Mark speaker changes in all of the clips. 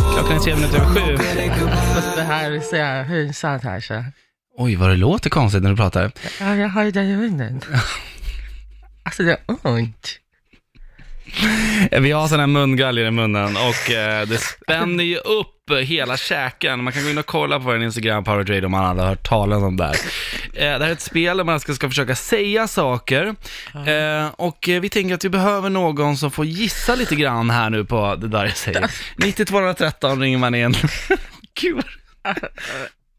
Speaker 1: klockan är tre minuter över sju. Och Det här ser jag hysat här så.
Speaker 2: Oj, vad det låter konstigt när du pratar.
Speaker 1: Ja, jag har ju det i munnen. Alltså det är ont.
Speaker 2: Eh, Vi har sådana här mungaljer i munnen och eh, det spänner ju upp hela käken. Man kan gå in och kolla på vår Instagram, Power Trade, om man aldrig har hört talas om det här. Eh, Det här är ett spel där man ska, ska försöka säga saker. Eh, Och eh, vi tänker att vi behöver någon som får gissa lite grann här nu på det där jag säger. 9213 ringer man in. Gud. vad-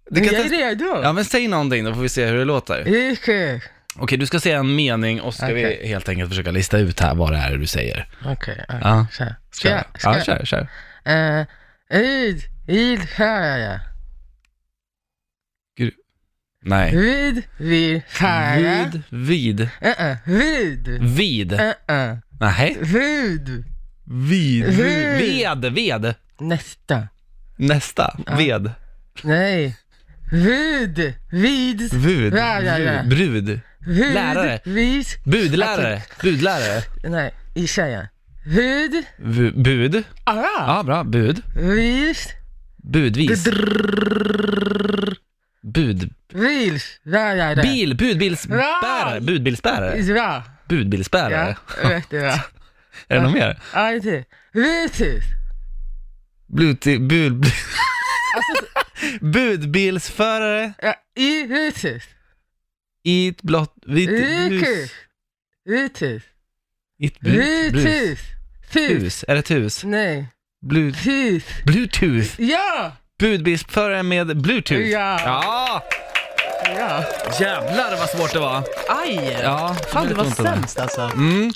Speaker 2: Du
Speaker 1: Men
Speaker 2: kan
Speaker 1: jag är
Speaker 2: testa-
Speaker 1: redo.
Speaker 2: Ja men säg någonting då får vi se hur det låter.
Speaker 1: Ike.
Speaker 2: Okej, du ska säga en mening och så ska
Speaker 1: Okej.
Speaker 2: vi helt enkelt försöka lista ut här vad det är du säger.
Speaker 1: Okej,
Speaker 2: Ja.
Speaker 1: ja. så här. Ska
Speaker 2: Kör.
Speaker 1: jag?
Speaker 2: Ja,
Speaker 1: Ska
Speaker 2: kör, kör.
Speaker 1: jag? Eh, Id, id, här jag.
Speaker 2: Nej.
Speaker 1: Vid, vid, fara.
Speaker 2: Vid, vid,
Speaker 1: Eh, eh, Vid.
Speaker 2: vid.
Speaker 1: Eh, eh,
Speaker 2: Nej.
Speaker 1: Vid.
Speaker 2: Vid.
Speaker 1: Vid.
Speaker 2: Ved, ved.
Speaker 1: Nästa.
Speaker 2: Nästa. Ved.
Speaker 1: Nej. Vid. Vid.
Speaker 2: Vud.
Speaker 1: Ja, ja, ja.
Speaker 2: Vud. Brud.
Speaker 1: Vid.
Speaker 2: Lärare.
Speaker 1: Vid.
Speaker 2: Budlärare. Budlärare.
Speaker 1: Nej, gissa igen. Vid.
Speaker 2: Vu- Bud. Ja, bra. Bud.
Speaker 1: Vis.
Speaker 2: Budvis. Bud.
Speaker 1: Vils. Lärare.
Speaker 2: Bil. Budbilsbärare. Budbilsbärare.
Speaker 1: Bra. Ja,
Speaker 2: Budbilsbärare.
Speaker 1: jättebra.
Speaker 2: Är det något mer?
Speaker 1: Ja, det är det. Vitis.
Speaker 2: Bluti, bud, bud.
Speaker 1: Alltså,
Speaker 2: Budbilsförare
Speaker 1: Ja, I vitis.
Speaker 2: i ett blått, vitt
Speaker 1: Vitis.
Speaker 2: hus.
Speaker 1: Vitis.
Speaker 2: I ett brut, brus.
Speaker 1: Vitis. Tis.
Speaker 2: Hus. Är det ett hus?
Speaker 1: Nej.
Speaker 2: Blu,
Speaker 1: Tis.
Speaker 2: Bluetooth.
Speaker 1: Ja!
Speaker 2: Budbilsförare med Bluetooth.
Speaker 1: Ja.
Speaker 2: ja!
Speaker 1: Ja.
Speaker 2: Jävlar vad svårt det var.
Speaker 3: Aj!
Speaker 2: Ja,
Speaker 3: Fan, du var
Speaker 2: jag tror inte
Speaker 3: sämst alltså.
Speaker 2: Mm.